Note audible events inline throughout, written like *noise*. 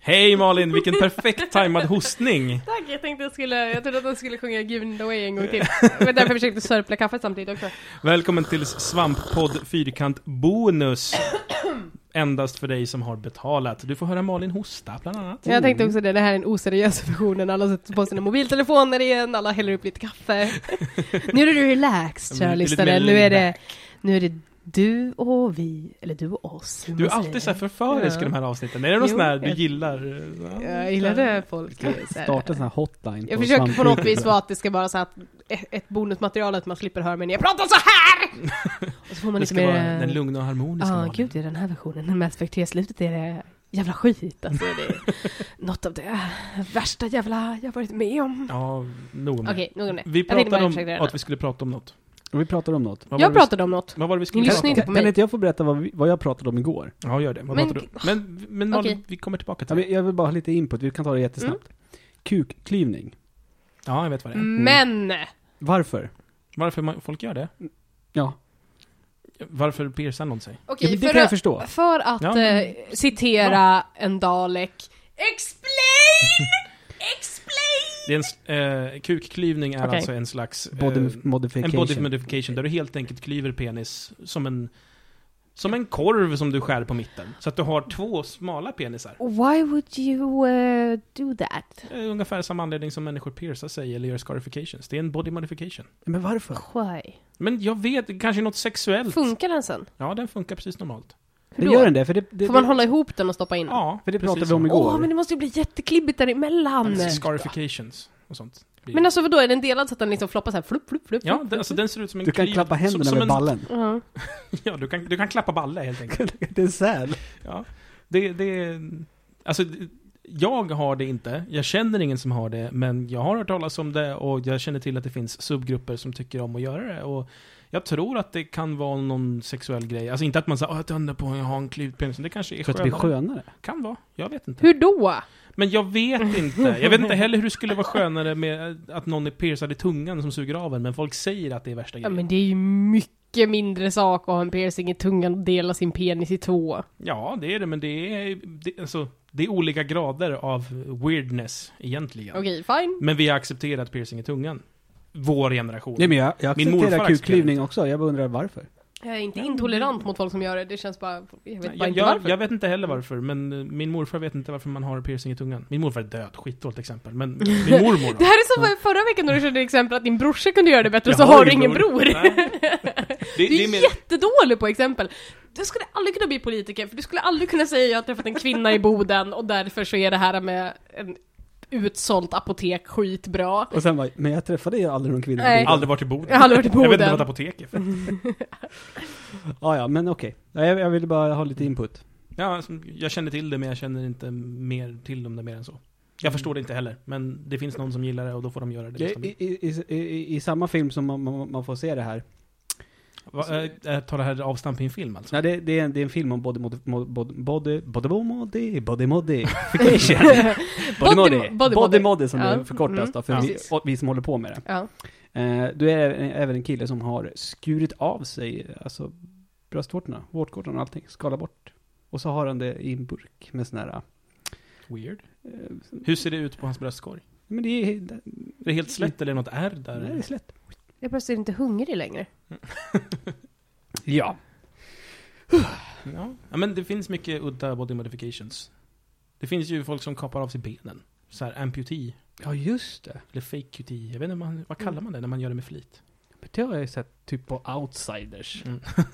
Hej Malin, vilken perfekt tajmad hostning! Tack, jag tänkte jag skulle, jag trodde att den skulle sjunga Giving Away en gång *laughs* till. Det var därför jag försökte sörpla kaffet samtidigt också. Välkommen till Svamppodd Fyrkant Bonus. Endast för dig som har betalat. Du får höra Malin hosta bland annat. Jag tänkte också det, det här är en oseriös versionen. Alla sätter på sina mobiltelefoner igen, alla häller upp *laughs* lite kaffe. Nu är det relaxed, Ja, kära men lite mer lyssnare. Nu är det, laid nu är det du och vi, eller du och oss. hur Du är man alltid så här säger. förförisk i de här avsnitten. Är det någon Jo, sån här du jag- gillar? Ja, Jag gillar det folk eh, så här. Starta en sån här hotline Jag på försöker på något *laughs* Svampsjukan. vis vara att det ska vara så här att ett- ett bonusmaterial att man slipper höra mig när jag pratar *laughs* så här! Och så får man Det lite ska mer... vara eh, den lugna och harmoniska Ja, Malin. gud i den här versionen, den Mass Effect 3-slutet är det jävla skit alltså. Det är något av det värsta jävla jag varit med om. Ja, nog om det. Okej, nog om det. Vi Jag tänkte bara pratade om försöka göra att något. vi skulle prata om något. Och vi pratar om något. Vad var Jag det vi- pratade om något. Vad var det vi Ni skulle prata lyssnar om? inte på Kan kan mig. inte jag få berätta vad, vi, vad jag pratade om igår? Ja, gör det. Vad Men- pratar du om? Men, men Malin, Okej. vi kommer tillbaka till Ja, det. men Jag vill bara ha lite input, vi kan ta det jättesnabbt. Mm. Kukklyvning. Ja, jag vet vad det är. Men! Varför? Varför man, folk gör det? Ja, Varför piercar någon sig? ja Okej, men det kan för, jag att- förstå. för att Ja, men- eh, citera en Dalek. Explain! Explain! Det är en, s- eh, kukklyvning är Okej. alltså en slags... eh, Body en modification. body modification, där du helt enkelt klyver penis som en... Som en korv som du skär på mitten. Så att du har två smala penisar. Why would you eh, do that? Eh, Ungefär samma anledning som människor piercar sig eller gör scarifications. Det är en body modification. men varför? Why? Men jag vet, kanske något sexuellt. Funkar den sen? ja, den funkar precis normalt. Hur det då? gör den det, för det, det, Får man hålla ihop den och stoppa in den? Ja, För det precis pratade vi så. om igår. Åh, men det måste ju bli jätteklibbigt däremellan! Alltså, Scarifications och sånt. blir- Men alltså vadå, är den delad så att den liksom floppar såhär flupp, flupp, flupp? Typ. Ja, flupp, den, alltså den ser ut som en Du kan klyv- klappa som, händerna som med en, ballen. *laughs* Ja. *laughs* Ja, du kan, du kan klappa balle helt enkelt. det är säl. Ja, det, det, alltså, det- jag har det inte, jag känner ingen som har det, men jag har hört talas om det och jag känner till att det finns subgrupper som tycker om att göra det. Och jag tror att det kan vara någon sexuell grej. Alltså inte att man säger att jag tänder på jag har en klyvd penis, men det kanske är För att det blir skönare. skönare. Kan vara, jag vet inte. Hur då? Men jag vet inte. Jag vet inte heller hur det skulle vara skönare med att någon är piercad i tungan som suger av en, men folk säger att det är värsta Ja grejen. men det är ju mycket mindre sak att ha en piercing i tungan och dela sin penis i två. Ja, det är det, men det är, det, alltså, det är olika grader av weirdness egentligen. Okej, fine. Men vi har accepterat piercing i tungan. Vår generation. Nej men jag, jag Min morfar accepterar kukklyvning också, jag bara undrar varför. Jag är inte intolerant mot folk som gör det, det känns bara... Jag vet bara jag, inte jag, varför. jag vet inte heller varför, men eh, min morfar vet inte varför man har piercing i tungan. Min morfar är död, skitdåligt exempel. *laughs* Men min mormor Det då? här är som var förra veckan när du körde exempel att din brorsa kunde göra det bättre Jag så har har du ingen ingen bror. bror. *laughs* Nej. Det, Du det är är mer, jättedålig på exempel. Du skulle aldrig kunna bli politiker, för du skulle aldrig kunna säga jag har träffat en kvinna i Boden och därför så är det här med en utsålt apotek skitbra. Och sen bara, men jag träffade ju aldrig någon kvinna. i Nej. Boden. aldrig varit i Boden. Jag har aldrig varit i Jag vet inte vad ett Boden. apotek är för. Ja, ja, men okej. Ja, Jag, jag ville bara ha lite input. Ja, alltså, jag känner till det, men jag känner inte mer till om det mer än så. Jag förstår det inte heller, men det finns någon som gillar det och då får de göra det. I, resten av livet. i, i, i, i samma film som man, man, man får se det här. Va, eh, eh, tar det här avstamp i en film alltså? Nej, det, det, är en, det är en film om body modi, modi, body, body, body, body *laughs* modification. *laughs* body Body- modi. body- Body modi som Ja. det förkortas då, för Mm. vi, och vi som håller på med det. Ja. Eh, du är även- även en kille som har skurit av sig, alltså bröstvårtorna, vårtkortan och allting, skalat bort. Och så har han det i en burk med sån här, Weird. eh, Hur ser det ut på hans bröstkorg? men det är, det Är det helt slätt eller är det något ärr där? är slätt. Jag plötsligt inte hungrig längre. Ja. Ja. ja, men det finns mycket udda body modifications. Det finns ju folk som kapar av sig benen. Så här amputee, Ja, just det. eller fake QT. Jag vet inte, man, vad kallar man det när man gör det med flit? Men Det har jag ju sett typ på outsiders. *laughs*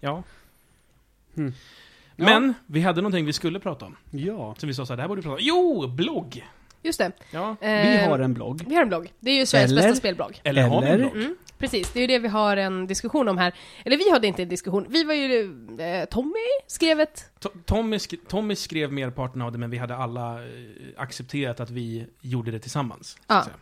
Ja. Mm. Men, vi hade någonting vi skulle prata om. Ja. Som vi sa så här, det här borde vi prata om. Jo! Blogg! Just det. Ja. Vi Eh, har en blogg. vi har en blogg. Det är ju Sveriges Eller? bästa spelblogg. Eller, har vi en Eller? blogg? Mm, precis, det är ju det vi har en diskussion om här. Eller vi hade inte en diskussion, vi var ju... Eh, Tommy skrev ett... To- Tommy, sk Tommy skrev merparten av det, men vi hade alla eh, accepterat att vi gjorde det tillsammans. så att Ja. säga.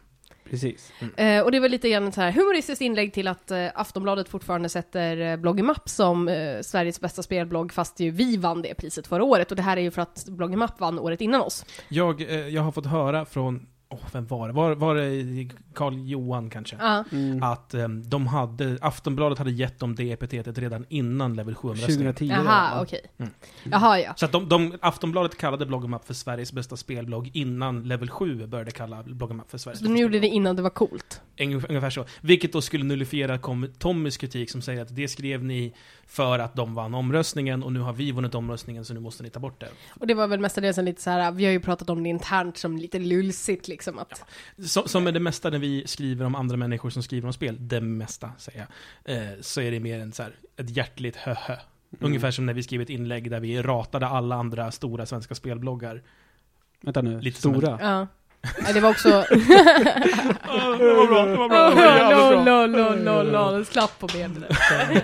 Precis. Eh, och det var lite grann ett så här humoristiskt inlägg till att eh, Aftonbladet fortfarande sätter eh, Bloggemapp som eh, Sveriges bästa spelblogg, fast ju vi vann det priset förra året. Och det här är ju för att Bloggemapp vann året innan oss. Jag, eh, jag har fått höra från åh, vem var det? Var, var det Karl Johan kanske? Ja. Mm. Att eh, de hade, Aftonbladet hade gett dem det epitetet redan innan Level 7-omröstningen. 2010. Jaha, ja. okej. Mm. Jaha, ja. Så att de, de, Aftonbladet kallade Bloggemapp för Sveriges bästa spelblogg innan Level 7 började kalla Bloggemapp för Sveriges Så de bästa gjorde spelblogg. det innan det var coolt. Ungef- Ungefär så. Vilket då skulle nullifiera kom- Tommys kritik som säger att det skrev ni för att de vann omröstningen och nu har vi vunnit omröstningen så nu måste ni ta bort det. Och det var väl mestadels en lite så här, vi har ju pratat om det internt som lite lulsigt liksom att... Så, som är det mesta när vi skriver om andra människor som skriver om spel, det mesta säger jag, eh, så är det mer en, så här, ett hjärtligt höhö. Ungefär som när vi skrev ett inlägg där vi ratade alla andra stora svenska spelbloggar. Vänta nu, Lite som stora. Ja. Nej, det var *laughs* också... det var bra, det *laughs* var Oh, bra. lol, lol, lol, lol, lol, slapp på benen. Eh.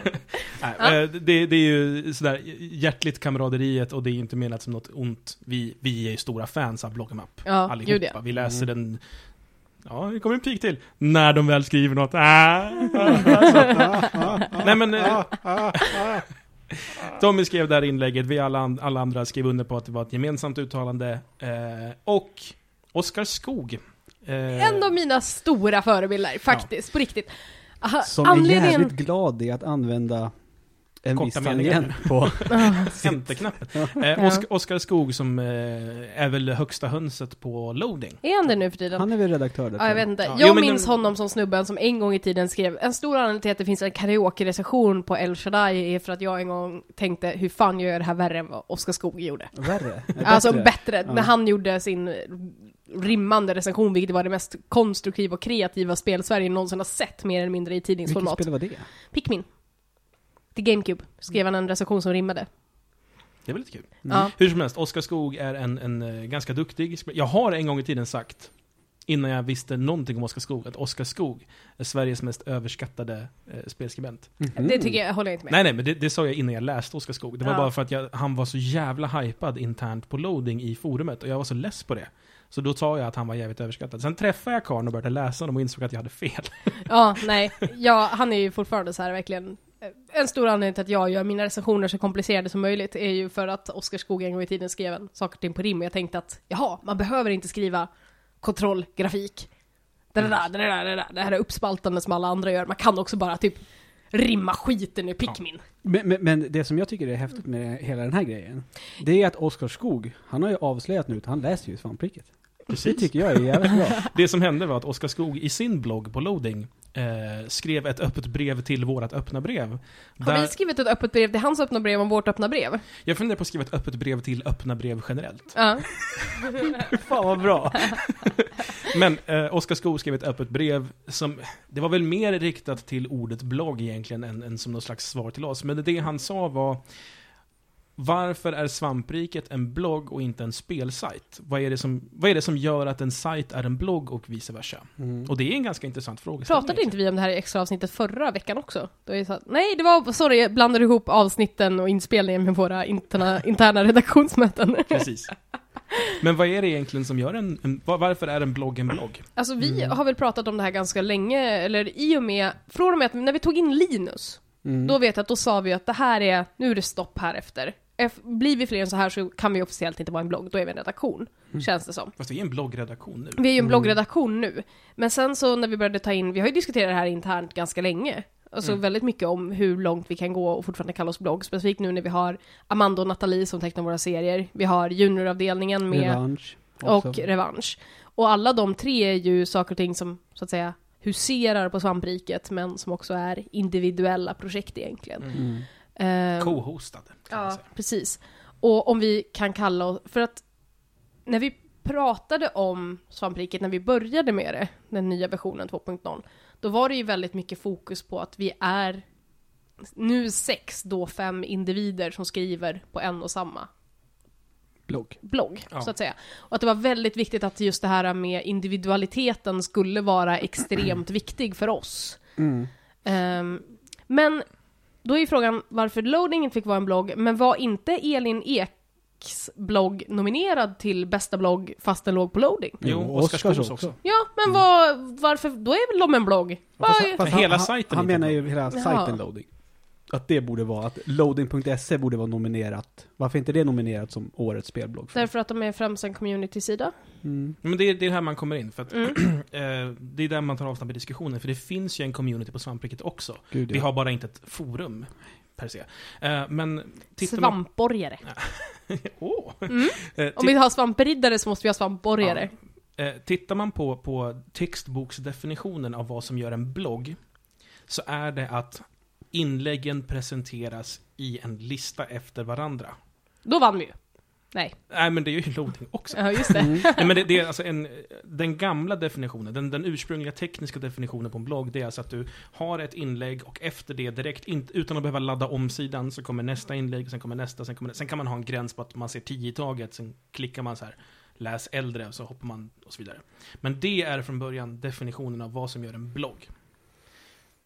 *laughs* Nej, eh, det, det är ju sådär hjärtligt kamraderiet och det är ju inte menat som något ont. Vi, vi är ju stora fans av Bloggemapp. Ja, gud allihopa. ja. Vi läser Mm. den... Ja, det kommer en pik till. När de väl skriver något. *laughs* Ah. Nej men... eh, *laughs* Tommy skrev det här inlägget, vi alla, and- alla andra skrev under på att det var ett gemensamt uttalande. Eh, och Oskar Skog. eh, En av mina stora förebilder, faktiskt, på riktigt. Aha, Som är anledningen... jävligt glad i att använda en Korta viss meningar. tangent *laughs* på... Ah, Enterknappen. Eh, Osk, Oskar Skog som eh, är väl högsta hönset på loading. *laughs* Är han det nu för tiden? *laughs* Han är väl redaktör där? Ja, jag vet inte. Ja, jo, Jag men minns den- honom som snubben som en gång i tiden skrev En stor anledning till att det finns en karaoke-recension på El Shaddai är för att jag en gång tänkte hur fan gör jag det här värre än vad Oskar Skog gjorde? Värre? *laughs* Alltså bättre, Ja. när han gjorde sin rimmande recension, vilket var det mest konstruktiva och kreativa spel Sverige någonsin har sett, mer eller mindre i Vilket tidningsformat. spel var det? Pikmin. Till GameCube skrev han en recension som rimmade. Det är väl lite kul. Mm. Ja. Hur som helst, Oskar Skog är en, en eh, ganska duktig spe- Jag har en gång i tiden sagt, innan jag visste någonting om Oskar Skog, att Oskar Skog är Sveriges mest överskattade eh, spelskribent. Mm. Mm. Det tycker jag, håller jag inte med. Nej, nej, men det, det sa jag innan jag läste Oskar Skog. Det var Ja. bara för att jag, han var så jävla hypad internt på loading i forumet och jag var så less på det. Så då sa jag att han var jävligt överskattad. Sen träffade jag karln och började läsa dem och insåg att jag hade fel. Ja, nej. Ja, han är ju fortfarande så här verkligen. eh, En stor anledning till att jag gör mina recensioner så komplicerade som möjligt är ju för att Oskar Skog en gång i tiden skrev en saker och ting på rim och jag tänkte att jaha, man behöver inte skriva kontrollgrafik. Det där, det där, det där, det här är uppspaltande som alla andra gör. Man kan också bara typ rimma skiten ur Pikmin. Mm. Men, men, men det som jag tycker är häftigt med hela den här grejen, det är att Oskar Skog, han har ju avslöjat nu att han läser ju Svampriket. Det tycker jag är jävligt *laughs* bra. Det som hände var att Oskar Skog i sin blogg på loading eh, skrev ett öppet brev till vårat öppna brev. Har vi Där, skrivit ett öppet brev till hans öppna brev om vårt öppna brev? jag funderar på att skriva ett öppet brev till öppna brev generellt. Ja. Fan vad bra! *laughs* Men eh, Oskar Skog skrev ett öppet brev som, det var väl mer riktat till ordet blogg egentligen än, än som något slags svar till oss. Men det han sa var Varför är svampriket en blogg och inte en spelsajt? Vad är det som, vad är det som gör att en sajt är en blogg och vice versa? Mm. Och det är en ganska intressant fråga. Pratade inte vi om det här i extra avsnittet förra veckan också? Då är det så att, nej, det var, sorry, jag blandade ihop avsnitten och inspelningen med våra interna, interna redaktionsmöten. Precis. Men vad är det egentligen som gör en, en var- varför är en blogg en blogg? Alltså vi har väl pratat om det här ganska länge, eller i och med, från och med att när vi tog in Linus, Mm. då vet jag att då sa vi att det här är, nu är det stopp här efter. Ef- Blir vi fler än så här så kan vi officiellt inte vara en blogg, då är vi en redaktion, känns det som. Fast vi är en bloggredaktion nu. Vi är ju en bloggredaktion nu. Men sen så när vi började ta in, vi har ju diskuterat det här internt ganska länge. Alltså Mm. väldigt mycket om hur långt vi kan gå och fortfarande kalla oss blogg. Specifikt nu när vi har Amanda och Nathalie som tecknar våra serier. Vi har junioravdelningen med Revansch. också. och revansch. Och alla de tre är ju saker och ting som så att säga huserar på svampriket men som också är individuella projekt egentligen. Mm. Mm. Ehm, Co-hostade, kan man Ja, säga. precis. Och om vi kan kalla oss, för att när vi pratade om svampriket, när vi började med det, den nya versionen 2.0, då var det ju väldigt mycket fokus på att vi är nu sex, då fem individer som skriver på en och samma Blogg. blogg, Ja. så att säga. Och att det var väldigt viktigt att just det här med individualiteten skulle *clears throat* vara extremt viktig för oss. Mm. Ehm, men då är ju frågan varför loadingen fick vara en blogg, men var inte Elin Eks blogg nominerad till bästa blogg fast den låg på loading? Jo, Jo, Oskar Oskars Skogs också. också. Ja, men var, varför, då är väl de en blogg? Var, För hela sajten Han inte menar blogg. ju hela Jaha. sajten loading. att det borde vara, att loading.se borde vara nominerat. Varför är inte det nominerat som årets spelblogg? För? Därför att de är främst en community-sida. Mm. Men det är, det är här man kommer in, för att Mm. eh, det är där man tar avstamp i diskussionen, för det finns ju en community på Svampriket också. Gud, Vi ja. har bara inte ett forum, per se. Eh, men *clears throat* tittar man... *laughs* Svampborgare. Åh! Mm. Eh, Om vi har svampriddare så måste vi ha svampborgare. Eh, tittar man på, på textboksdefinitionen av vad som gör en blogg, så är det att inläggen presenteras i en lista efter varandra. Då vann vi ju. Nej, Nej, men det är ju loading *laughs* också. ja, just det. Mm. Nej, men det, det är alltså en, den gamla definitionen, den, den ursprungliga tekniska definitionen på en blogg, det är alltså att du har ett inlägg och efter det direkt, inte- utan att behöva ladda om sidan, så kommer nästa inlägg, sen kommer nästa, sen kommer Sen kan man ha en gräns på att man ser tio i taget, sen klickar man så här, läs äldre, och så hoppar man och så vidare. Men det är från början definitionen av vad som gör en blogg.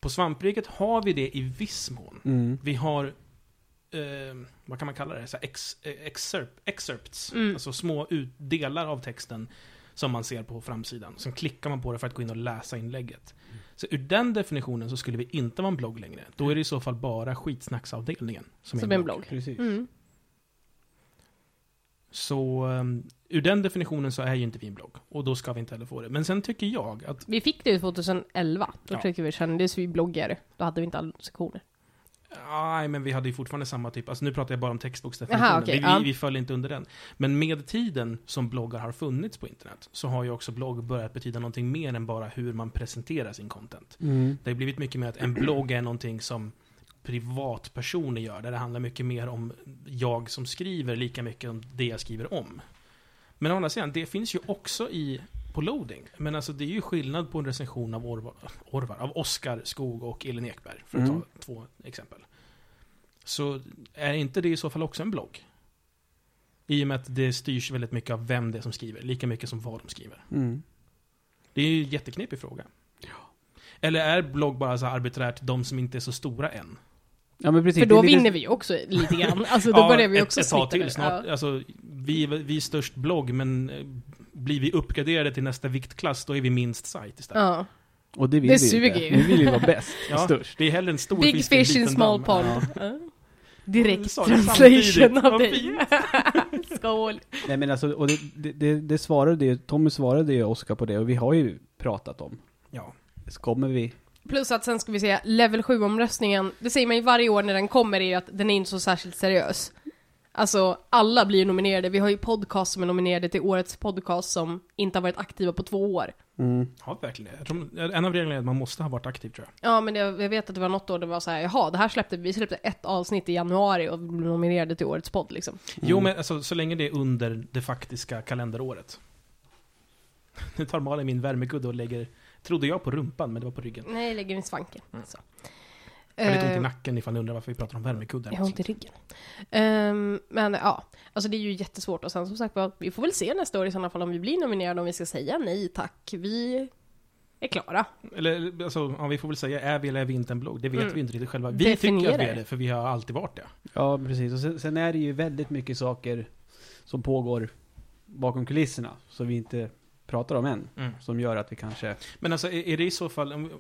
På svampriket har vi det i viss mån. Mm. Vi har, eh, vad kan man kalla det? Så här ex, eh, excerp, excerpts, Mm. alltså små ut, delar av texten som man ser på framsidan. Sen klickar man på det för att gå in och läsa inlägget. Så ur den definitionen så skulle vi inte vara en blogg längre. Då är det i så fall bara skitsnacksavdelningen som, Som är en blogg. Precis. Mm. Så um, ur den definitionen så är ju inte vi en blogg. Och då ska vi inte heller få det. Men sen tycker jag att Vi fick det ju 2011. Då Ja. tyckte vi kändes vi bloggare. Då hade vi inte alla sektioner. Nej, men vi hade ju fortfarande samma typ. Alltså nu pratar jag bara om textboksdefinitionen. Aha, okej, vi, ja. vi, vi föll inte under den. Men med tiden som bloggar har funnits på internet så har ju också blogg börjat betyda någonting mer än bara hur man presenterar sin content. Mm. Det har blivit mycket mer att en blogg är någonting som privatpersoner gör, där det handlar mycket mer om jag som skriver, lika mycket om det jag skriver om. Men å andra sidan, det finns ju också i på loading. Men alltså det är ju skillnad på en recension av Orvar, Orvar av Oskar Skog och Elin Ekberg, för att Mm. ta två exempel. Så är inte det i så fall också en blogg? I och med att det styrs väldigt mycket av vem det är som skriver, lika mycket som vad de skriver. Mm. Det är ju en jätteknepig fråga. Eller är blogg bara så här arbiträrt de som inte är så stora än? Ja, men precis. Typ, För då Det är lite- vinner vi ju också *laughs* lite grann. Alltså då börjar vi ett- också ett, tag snitta där. till snart. Ja. Alltså, vi, är- vi är störst blogg, men eh, blir vi uppgraderade till nästa viktklass, då är vi minst sajt istället. Ja. Och det vill Det vi ju suger inte. ju. Vi vill ju *laughs* vara bäst och Ja. störst. Det är hellre en stor Big än en fish in liten small damm. pond. Ja. Ja. Du Direkt sa det translation samtidigt. av Vad dig. *laughs* Skål. Nej men alltså, och det, det, det, det svarade ju, Tommy svarade ju Oskar på det och vi har ju pratat om. Ja. Så kommer vi... Plus att sen ska vi se, level 7-omröstningen, det säger man ju varje år när den kommer är ju att den är inte så särskilt seriös. Alltså, alla blir ju nominerade. Vi har ju podcast som är nominerade till årets podcast som inte har varit aktiva på två år. Mm. ja, verkligen. Jag tror, eh, en av reglerna är att man måste ha varit aktiv, tror jag. Ja, men det, jag vet att det var något år det var så här, jaha, det här släppte vi, släppte ett avsnitt i januari och blev nominerade till årets podd liksom. Jo, men alltså, så länge det är under det faktiska kalenderåret. Nu tar Malin min värmekudde och lägger, trodde jag, på rumpan, men det var på ryggen. Nej, jag lägger min svanke. Så. Mm. Jag har lite ont i Eh, nacken ifall ni undrar varför vi pratar om värmekuddar. Jag har ont i ryggen. Ehm, men ja, alltså det är ju jättesvårt. Och sen som sagt var, vi får väl se nästa år i sådana fall om vi blir nominerade, om vi ska säga nej tack, vi är klara. Eller alltså, ja, vi får väl säga, är vi eller är vi inte en blogg? Det vet Mm. vi inte riktigt själva. Vi Definiera tycker att vi är det. det, för vi har alltid varit det. Ja, precis. Och sen, sen är det ju väldigt mycket saker som pågår bakom kulisserna, som vi inte pratar om än. Mm. Som gör att vi kanske... Men alltså, är är det i så fall... om-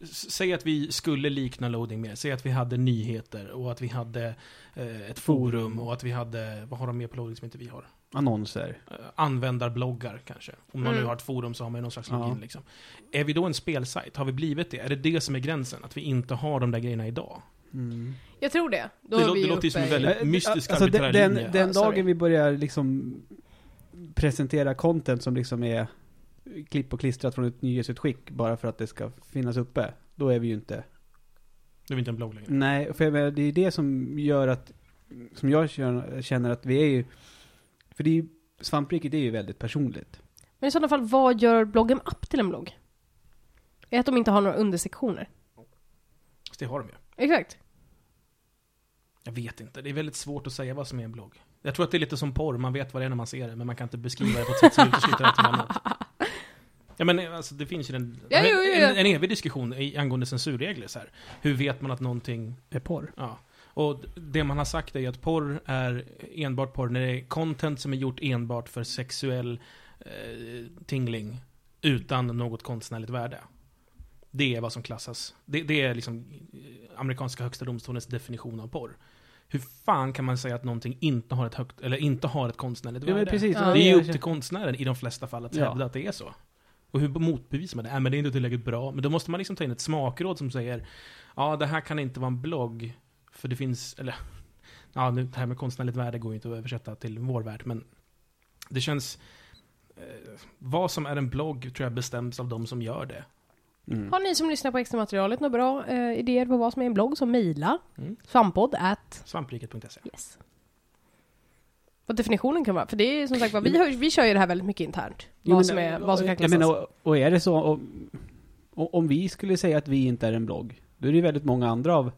s- Säg att vi skulle likna loading mer. Säg att vi hade nyheter och att vi hade eh, ett forum och att vi hade... Vad har de mer på loading som inte vi har? Annonser. Eh, användarbloggar kanske. Om man Mm. nu har ett forum så har man ju någon slags Ja. login liksom. Är vi då en spelsajt? Har vi blivit det? Är det det som är gränsen? Att vi inte har de där grejerna idag? Mm. Jag tror det. Då Det är lå- vi det ju låter ju som uppe en i- väldigt- Eh, mystisk alltså, den, arbiträr den, linje. den Ja, sorry. dagen vi börjar liksom presentera content som liksom är klipp och klistrat från ett nyhetsutskick bara för att det ska finnas uppe, då är vi ju inte Mm. Nu är vi inte en blogg längre. Nej, för jag menar, det är det som gör att, som jag känner- känner att vi är ju, för det är ju, svampriket är ju väldigt personligt. Men i sådana fall, vad gör bloggen upp till en blogg? Är att de inte har några undersektioner. Fast det har de ju. Exakt. Jag vet inte. Det är väldigt svårt att säga vad som är en blogg. Jag tror att det är lite som porr. Man vet vad det är när man ser det, men man kan inte beskriva det på ett sätt som utesluter allting *laughs* annat. Ja men alltså det finns ju en, Ja, jo, jo, jo. en, en evig diskussion i, angående censurregler så här. Hur vet man att någonting, Är porr. ja. Och det man har sagt är ju att porr är enbart porr när det är content som är gjort enbart för sexuell eh, tingling utan något konstnärligt värde. Det är vad som klassas. Det, det är liksom eh, amerikanska högsta domstolens definition av porr. Hur fan kan man säga att någonting inte har ett högt, eller inte har ett konstnärligt Ja, men värde? precis. Ja. Det är ju upp känns- till konstnären i de flesta fall att Ja. hävda att det är så. Och hur motbevisar man det? Nej, men det är inte tillräckligt bra. Men då måste man liksom ta in ett smakråd som säger Ja, det här kan inte vara en blogg. För det finns, eller Ja, nu, det här med konstnärligt värde går ju inte att översätta till vår värld, men det känns... Eh, vad som är en blogg tror jag bestäms av de som gör det. Mm. Har ni som lyssnar på extra materialet några bra eh, idéer på vad som är en blogg så mejla Mm. svampodd at Svampriket.se. yes. Vad definitionen kan vara, för det är ju som sagt vad vi, har, vi kör ju det här väldigt mycket internt. Mm. Jo, men, vad, som är, eh, vad som kan klassas. Jag menar, och, och är det så, om, och- om vi skulle säga att vi inte är en blogg, då är det ju väldigt många andra av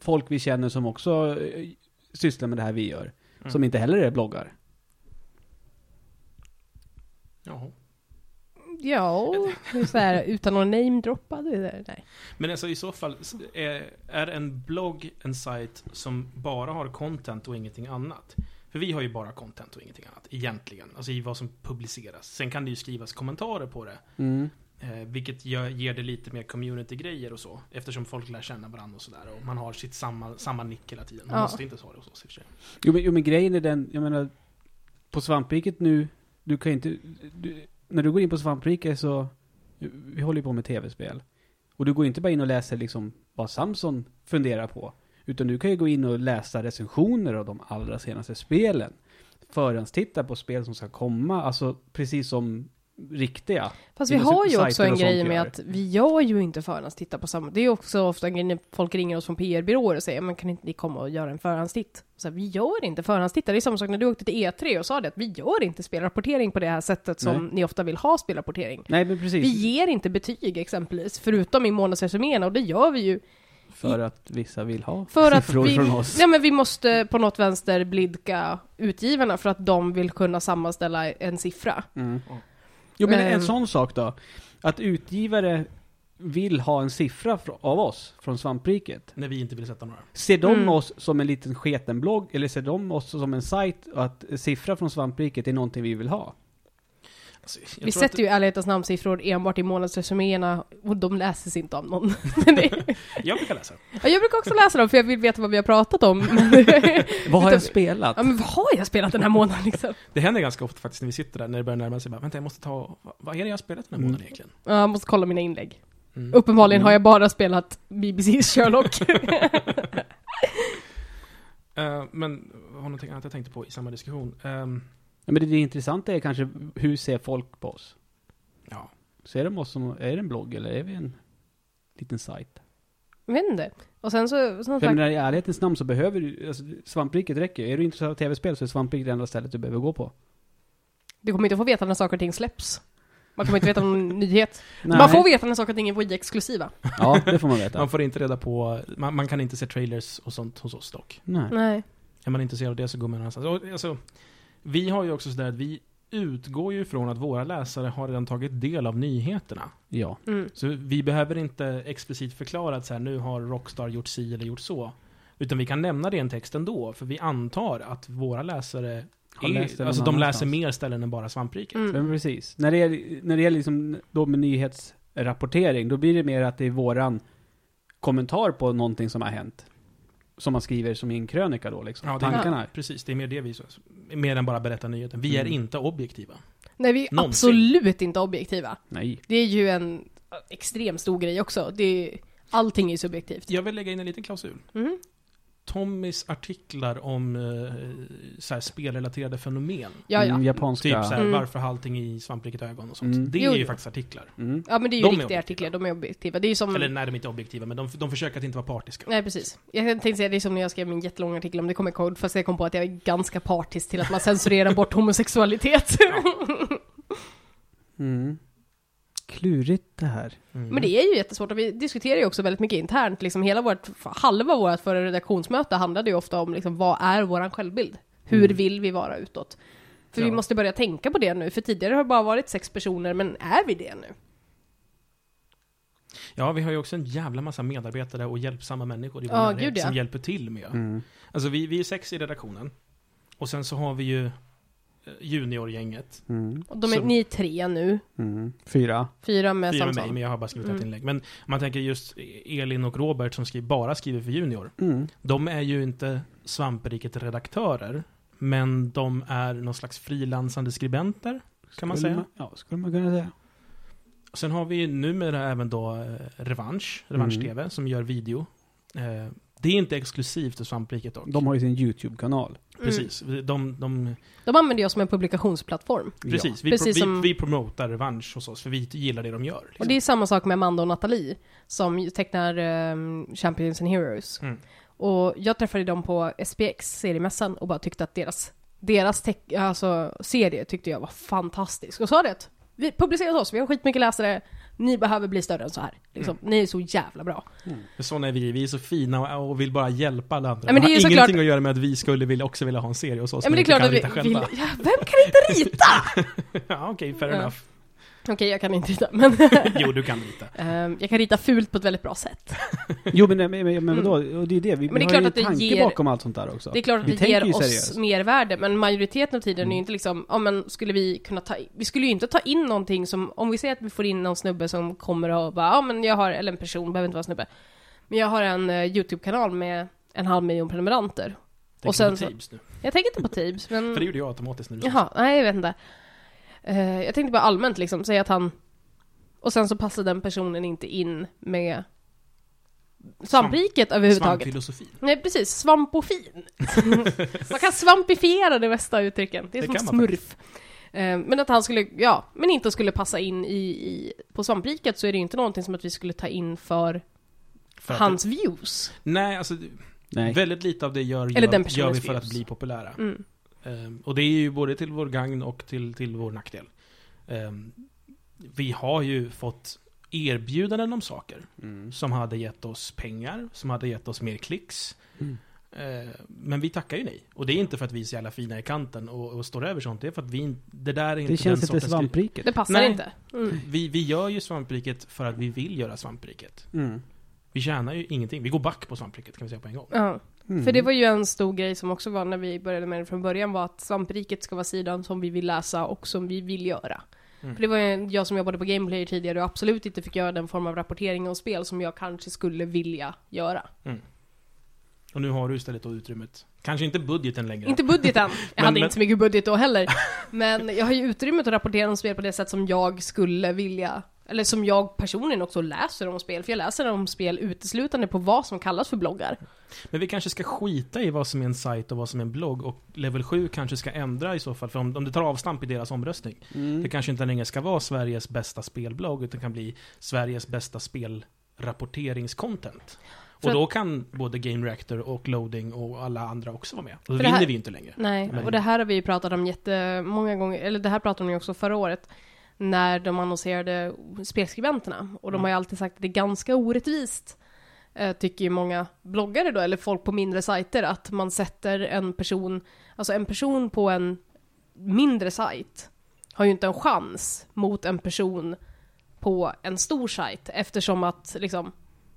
folk vi känner som också eh, sysslar med det här vi gör, Mm. som inte heller är bloggar. Jaha. Ja, det är så här, utan att namedroppa. det där. Nej. Men alltså i så fall, s- är, är en blogg en sajt som bara har content och ingenting annat? För vi har ju bara content och ingenting annat, egentligen. Alltså i vad som publiceras. Sen kan det ju skrivas kommentarer på det. Mm. Eh, vilket gör, ger det lite mer community-grejer och så. Eftersom folk lär känna varandra och sådär. Och man har sitt samma, samma nick hela tiden. Man Ja. måste inte ha det hos oss i och för sig. Jo, men, jo, men grejen är den, jag menar, på svampriket nu, du kan inte, du, när du går in på svampriket så, vi håller ju på med tv-spel. Och du går inte bara in och läser liksom vad Samson funderar på, utan du kan ju gå in och läsa recensioner av de allra senaste spelen. Förhandstitta på spel som ska komma, alltså precis som riktiga. Fast vi Inom har ju sajter också en och sånt grej med gör. att vi gör ju inte förhandstitta på samma... Det är ju också ofta en grej när folk ringer oss från PR-byråer och säger men kan inte ni komma och göra en förhandstitt? Så här, vi gör inte förhandstitta. Det är samma sak när du åkte till E3 och sa det att vi gör inte spelrapportering på det här sättet som Nej. ni ofta vill ha spelrapportering. Nej, men precis. Vi ger inte betyg exempelvis, förutom i månadsresuméerna och det gör vi ju för att vissa vill ha För att siffror vi, från oss. Nej, men vi måste på något vänster blidka utgivarna för att de vill kunna sammanställa en siffra. Mm. Jo men Ehm. en sån sak då. Att utgivare vill ha en siffra fr- av oss från svampriket. När vi inte vill sätta några. Ser de Mm. oss som en liten sketen blogg eller ser de oss som en sajt och att siffra från svampriket är någonting vi vill ha? Alltså, jag vi tror sätter att, ju i ärlighetens namn siffror enbart i månadsresuméerna och de läses inte av någon. *laughs* Men det- Jag brukar läsa. ja, jag brukar också läsa dem för jag vill veta vad vi har pratat om. *laughs* Men, Vad har Utan- jag spelat? ja, men vad har jag spelat den här månaden liksom? Det händer ganska ofta faktiskt när vi sitter där, när det börjar närma sig. Bara, Vänta, jag måste ta... vad- Vad är det jag har spelat den här Mm. månaden egentligen? Ja, jag måste kolla mina inlägg. Mm. Uppenbarligen Mm. har jag bara spelat BBC's Sherlock. Eh, men har någonting annat jag tänkte på i samma diskussion. Ehm, Ja, men det, det intressanta är kanske hur ser folk på oss? ja. Ser de oss som, är det en blogg eller är vi en liten sajt? *laughs* jag vet inte. Och sen så, som För jag sagt, menar, i ärlighetens namn så behöver du, alltså, svampriket räcker ju. Är du intresserad av tv-spel så är svampriket det enda stället du behöver gå på. du kommer inte få veta när saker och ting släpps. Man kommer inte veta *laughs* om någon nyhet. Nej. Man får veta när saker och ting är Wii-exklusiva. Ja, det får man *laughs* veta. Man får inte reda på... Man, man kan inte se trailers och sånt hos oss dock. Nej. Nej. Är man intresserad av det så går man någon annanstans. Och, Alltså, vi har ju också sådär att vi utgår ju ifrån att våra läsare har redan tagit del av nyheterna. Ja. Mm. Så vi behöver inte explicit förklara att så här, nu har Rockstar gjort si eller gjort så. Utan vi kan nämna det i en text ändå, för vi antar att våra läsare Har läst är, det alltså någon de läser annanstans. mer ställen än bara svampriket. Mm. Men precis. När det gäller, när det gäller liksom då med nyhetsrapportering, då blir det mer att det är våran kommentar på någonting som har hänt. Som man skriver som i en krönika då liksom. Ja, det är- Tankarna. Precis, det är mer det vi... Mer än bara berätta nyheten. Vi är Mm. inte objektiva. Nej, vi är Någonsin. absolut inte objektiva. Nej. Det är ju en extremt stor grej också. Det är, allting är ju subjektivt. Jag vill lägga in en liten klausul. Mm. Tommys artiklar om eh, så här, spelrelaterade fenomen. Ja, Mm, ja. japanska. Typ såhär, Mm. varför har allting i svampriket ögon och sånt. Mm. Det Jo, är ju jo. faktiskt artiklar. Mm. Ja, men det är ju De är riktiga objektiva. artiklar. De är objektiva. Det är ju som... Eller nej, de är inte objektiva, men de, de försöker att inte vara partiska. Nej, precis. Jag tänkte säga, det är som när jag skrev min jättelånga artikel om det kommer kod, fast jag kom på att jag är ganska partisk till att man censurerar bort homosexualitet. *laughs* Mm. Klurigt det här. Mm. Men det är ju jättesvårt och vi diskuterar ju också väldigt mycket internt. Liksom hela vårt, halva vårt förra redaktionsmöte handlade ju ofta om liksom, vad är vår självbild? Hur Mm. vill vi vara utåt? För vi Ja. måste börja tänka på det nu, för tidigare har det bara varit sex personer, men är vi det nu? Ja, vi har ju också en jävla massa medarbetare och hjälpsamma människor i vår Ja, närhet gud, ja. som hjälper till med. Mm. Alltså vi, vi är sex i redaktionen. Och sen så har vi ju eh, juniorgänget. Mm. Och de är, Så- ni är tre nu. Mm. Fyra. Fyra med Fyra med mig, samtal. men jag har bara skrivit ett Mm. inlägg. Men om man tänker just Elin och Robert som skriver, bara skriver för junior. Mm. De är ju inte svampriket-redaktörer, men de är någon slags frilansande skribenter, kan man Skulle säga. ja, skulle man kunna säga. Sen har vi ju numera även då eh, Revansch, Mm. Revansch-TV, som gör video. Eh, Det är inte exklusivt för svampriket dock. De har ju sin YouTube-kanal. Precis, Vi- de, de, Mm. De använder jag som en publikationsplattform. precis. Vi, Precis vi, som- vi promotar Revansch hos oss, för vi gillar det de gör. Och Liksom. det är samma sak med Amanda och Nathalie som ju tecknar ehm, Champions and Heroes. Mm. Och jag träffade dem på SPX, seriemässan, och bara tyckte att deras, deras teck, alltså, serie tyckte jag var fantastisk. Och sa det att vi publicerar hos oss, vi har skitmycket läsare, ni behöver bli större än så här. Liksom. Mm. Ni är så jävla bra. För sådana är vi, vi är så fina och, och vill bara hjälpa alla andra. Ja, men det är har ju ingenting såklart- att göra med att vi skulle vilja, också vilja ha en serie hos oss, Ja, men det är klart att inte vi, kan rita vi själva. ja, Vem kan inte *laughs* rita? ja, okej, fair Ja. *laughs* enough. Okej, jag kan inte rita, men *laughs* Jo, du kan rita. ehm, jag kan rita fult på ett väldigt bra sätt. Jo men, men, men, men vadå, och det är ju det. Vi, Mm. Men det är vi har klart ju att det tanke ger- bakom allt sånt där också. Det är klart att Vi det tänker ger ju oss seriöst. mervärde, men majoriteten av tiden är Mm. ju inte liksom, ja men skulle vi kunna ta i- vi skulle ju inte ta in någonting som, om vi säger att vi får in någon snubbe som kommer och bara, ja men jag har, eller en person, behöver inte vara snubbe, men jag har en eh, YouTube-kanal med en halv miljon prenumeranter. Tänk Och sen på så- Tibs nu. Jag tänker inte på Tibs, men... För det gjorde jag automatiskt när du sa Jaha, nej jag vet inte. Eh, jag tänkte bara allmänt liksom, säga att han... Och sen så passar den personen inte in med svampriket överhuvudtaget. Svampfilosofin. Nej *laughs* precis, svampofin. man kan svampifiera det bästa uttrycken. Det är Det som kan man smurf. Eh, Men att han skulle, ja, men inte skulle passa in i, i på svampriket så är det ju inte någonting som att vi skulle ta in för För att- hans views. Nej, alltså Nej. väldigt lite av det gör, Eller den gör, personens gör vi för views. att bli populära. Mm. Ehm, och det är ju både till vår gagn och till, till vår nackdel. Ehm, vi har ju fått erbjudanden om saker Mm. som hade gett oss pengar, som hade gett oss mer klicks. Mm. Ehm, men vi tackar ju nej. Och det är inte för att vi är så jävla fina i kanten och, och står över sånt. Det är för att vi in- Det där är inte Det känns den inte sortens- svampriket. Det passar Nej. inte. Mm. Vi, vi gör ju svampriket för att vi vill göra svampriket. Mm. Vi tjänar ju ingenting. Vi går back på svampriket kan vi säga på en gång. Ja. Mm. För det var ju en stor grej som också var när vi började med det från början var att svampriket ska vara sidan som vi vill läsa och som vi vill göra. Mm. För det var ju jag som jobbade på Gameplayer tidigare och absolut inte fick göra den form av rapportering om spel som jag kanske skulle vilja göra. Och nu har du istället då utrymmet. Kanske inte budgeten längre. Inte *laughs* budgeten, jag Men- hade men- inte så mycket budget då *laughs* heller. Men jag har ju utrymmet att rapportera om spel på det sätt som jag skulle vilja eller som jag personligen också läser om spel, för jag läser om spel uteslutande på vad som kallas för bloggar. Men vi kanske ska skita i vad som är en sajt och vad som är en blogg. Och Level 7 kanske ska ändra i så fall. För om, om det tar avstamp i deras omröstning. Mm. Det kanske inte längre ska vara Sveriges bästa spelblogg. Utan kan bli Sveriges bästa spelrapporteringscontent. För- Och då kan både Game Reactor och Loading och alla andra också vara med. Och då För det här- vinner vi ju inte längre. Nej, Nej. och det här har vi ju pratat om jättemånga gånger, eller det här pratade vi också förra året, när de annonserade spelskribenterna. Och de har ju alltid sagt att det är ganska orättvist, eh, tycker ju många bloggare då, eller folk på mindre sajter, att man sätter en person, alltså en person på en mindre sajt har ju inte en chans mot en person på en stor sajt, eftersom att liksom,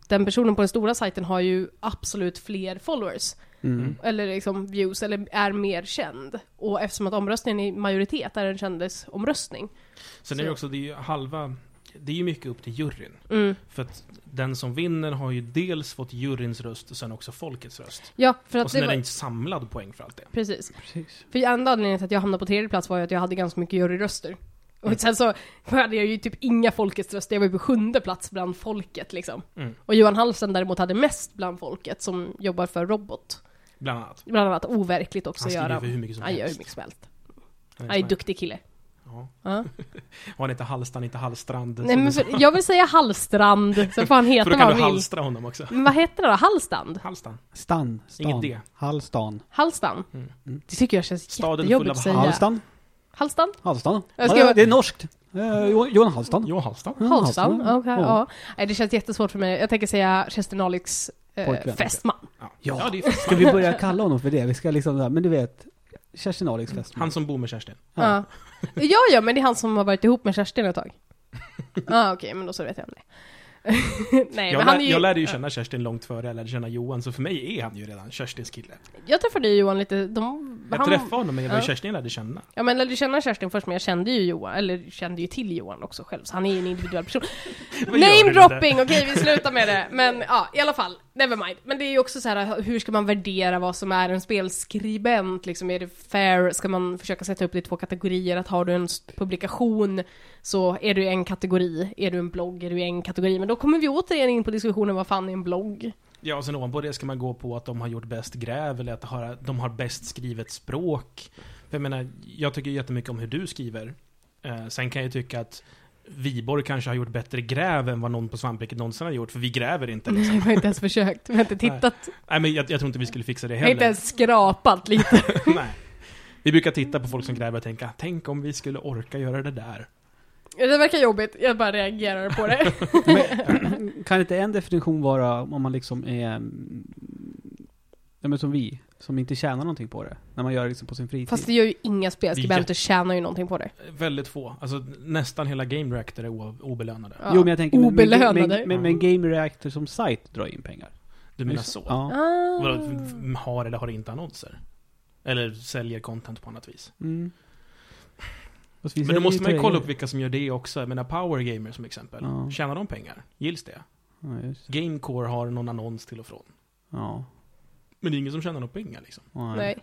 den personen på den stora sajten har ju absolut fler followers Mm. eller liksom views, eller är mer känd. Och eftersom att omröstningen i majoritet är en kändisomröstning. Sen är det Så- också, det är ju halva... Det är ju mycket upp till juryn. Mm. För att den som vinner har ju dels fått juryns röst och sen också folkets röst. Ja, för Och att sen det är det var... en samlad poäng för allt det. Precis. Precis. För enda anledningen till att jag hamnade på tredje plats var ju att jag hade ganska mycket juryröster. Och Mm. sen så hade jag ju typ inga folkets röster, jag var ju på sjunde plats bland folket liksom. Mm. Och Johan Halsen däremot hade mest bland folket som jobbar för Robot. Bland annat. Bland annat overkligt också Han skriver Göran. för hur mycket som Han gör hur helst. mycket som helst. Han Han är sån här- duktig kille. Ja. Ja. Och han heter Hallstan, inte Hallstrand. Nej, som men du sa. för, jag vill säga Hallstrand, så får han *laughs* heta För då kan vad han du vill. halstra honom också. Men vad heter det då? Hallstrand? Hallstan. Stan. Stan. Inget D. Halstan. Halstan? Mm. Det tycker jag känns Staden full jättejobbigt av att säga. Halstan? Halstan. Halstan? Halstan. Jag ska- Ja, det är norskt. Eh, Jo- Johan Halstan. Jo, Hallstan. Ja, Okej, Ja. ja. Nej, det känns jättesvårt för mig. Jag tänker säga Kerstin Alix eh, Pojkvän. fästman. Ja. Ja. det är ju Ska vi börja kalla honom för det? Vi ska liksom, där, men du vet, Kerstin Alix fästman. han som bor med Kerstin. Ja. *laughs* ja, ja, men det *laughs* är han som har varit ihop med Kerstin ett tag. Ja, okej, men då så vet jag om det. Nej, jag, men lär, han är ju... jag lärde ju känna Kerstin långt före jag lärde känna Johan, så för mig är han ju redan Kerstins kille. Jag träffade ju Johan lite, de... Jag han... träffade honom, men jag var ja. Kerstin jag lärde känna. Ja men jag lärde känna Kerstin först, men jag kände ju Johan, eller kände ju till Johan också själv, så han är ju en individuell person. *laughs* Vad gör du Namedropping, okej vi slutar *laughs* med det. Men ja, i alla fall, never mind. Men det är ju också så här, hur ska man värdera vad som är en spelskribent? Liksom, är det fair? Ska man försöka sätta upp det i två kategorier? Att har du en s- publikation så är du i en kategori, är du en blogg är du i en kategori. Men då kommer vi återigen in på diskussionen vad fan är en blogg? Ja, och sen ovanpå det ska man gå på att de har gjort bäst gräv eller att de har- de har bäst skrivet språk. För jag menar, jag tycker jättemycket om hur du skriver. Eh, sen kan jag ju tycka att Viborg kanske har gjort bättre gräv än vad någon på Svampriket någonsin har gjort, för vi gräver inte. Nej, Liksom. *laughs* vi har inte ens försökt, vi har inte tittat, Nej, men jag, jag tror inte vi skulle fixa det vi har inte heller. ens skrapat liksom. lite. *laughs* Nej. Vi brukar titta på folk som gräver och tänka, tänk om vi skulle orka göra det där. Det verkar jobbigt, jag bara reagerar på det. *laughs* Men, *clears throat* kan inte en definition vara om man liksom är... mm, Ja, men som vi, som inte tjänar någonting på det. När man gör det liksom på sin fritid. Fast det gör ju inga spelskribenter, tjänar ju någonting på det. Eh, Väldigt få, alltså nästan hela Game Reactor är o- obelönade. Ja. Jo men jag tänker... men- men- Obelönade. Men, men, men Game Reactor som sajt drar in pengar. Du menar Just- så? Ja. Ah. Vadå, f- f- har eller har inte annonser? Eller säljer content på annat vis? Mm. Fast vi Men då säljer måste man ju kolla upp tröjor. vilka som gör det också. Jag menar Power Gamer som exempel. Ja. Tjänar de pengar? Gills det? Ja, just. Gamecore har någon annons till och från. Ja. Men det är ingen som tjänar några pengar liksom. Nej. Nej.